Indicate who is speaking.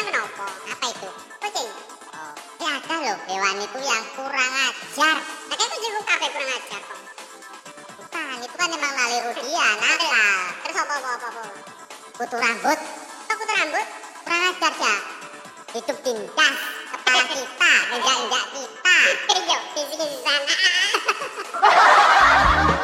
Speaker 1: apa itu? Kucing. Oh. Ya ada loh hewan itu yang kurang ajar. Makanya kucing lu kafe kurang ajar kok. Bukan, itu kan emang laliru dia, nakal. Terus apa apa apa? apa? Kutu rambut. Kok kutu rambut? Kurang ajar ya. Hidup tindas kepala kita, enggak enggak kita. Yuk, bisik sana.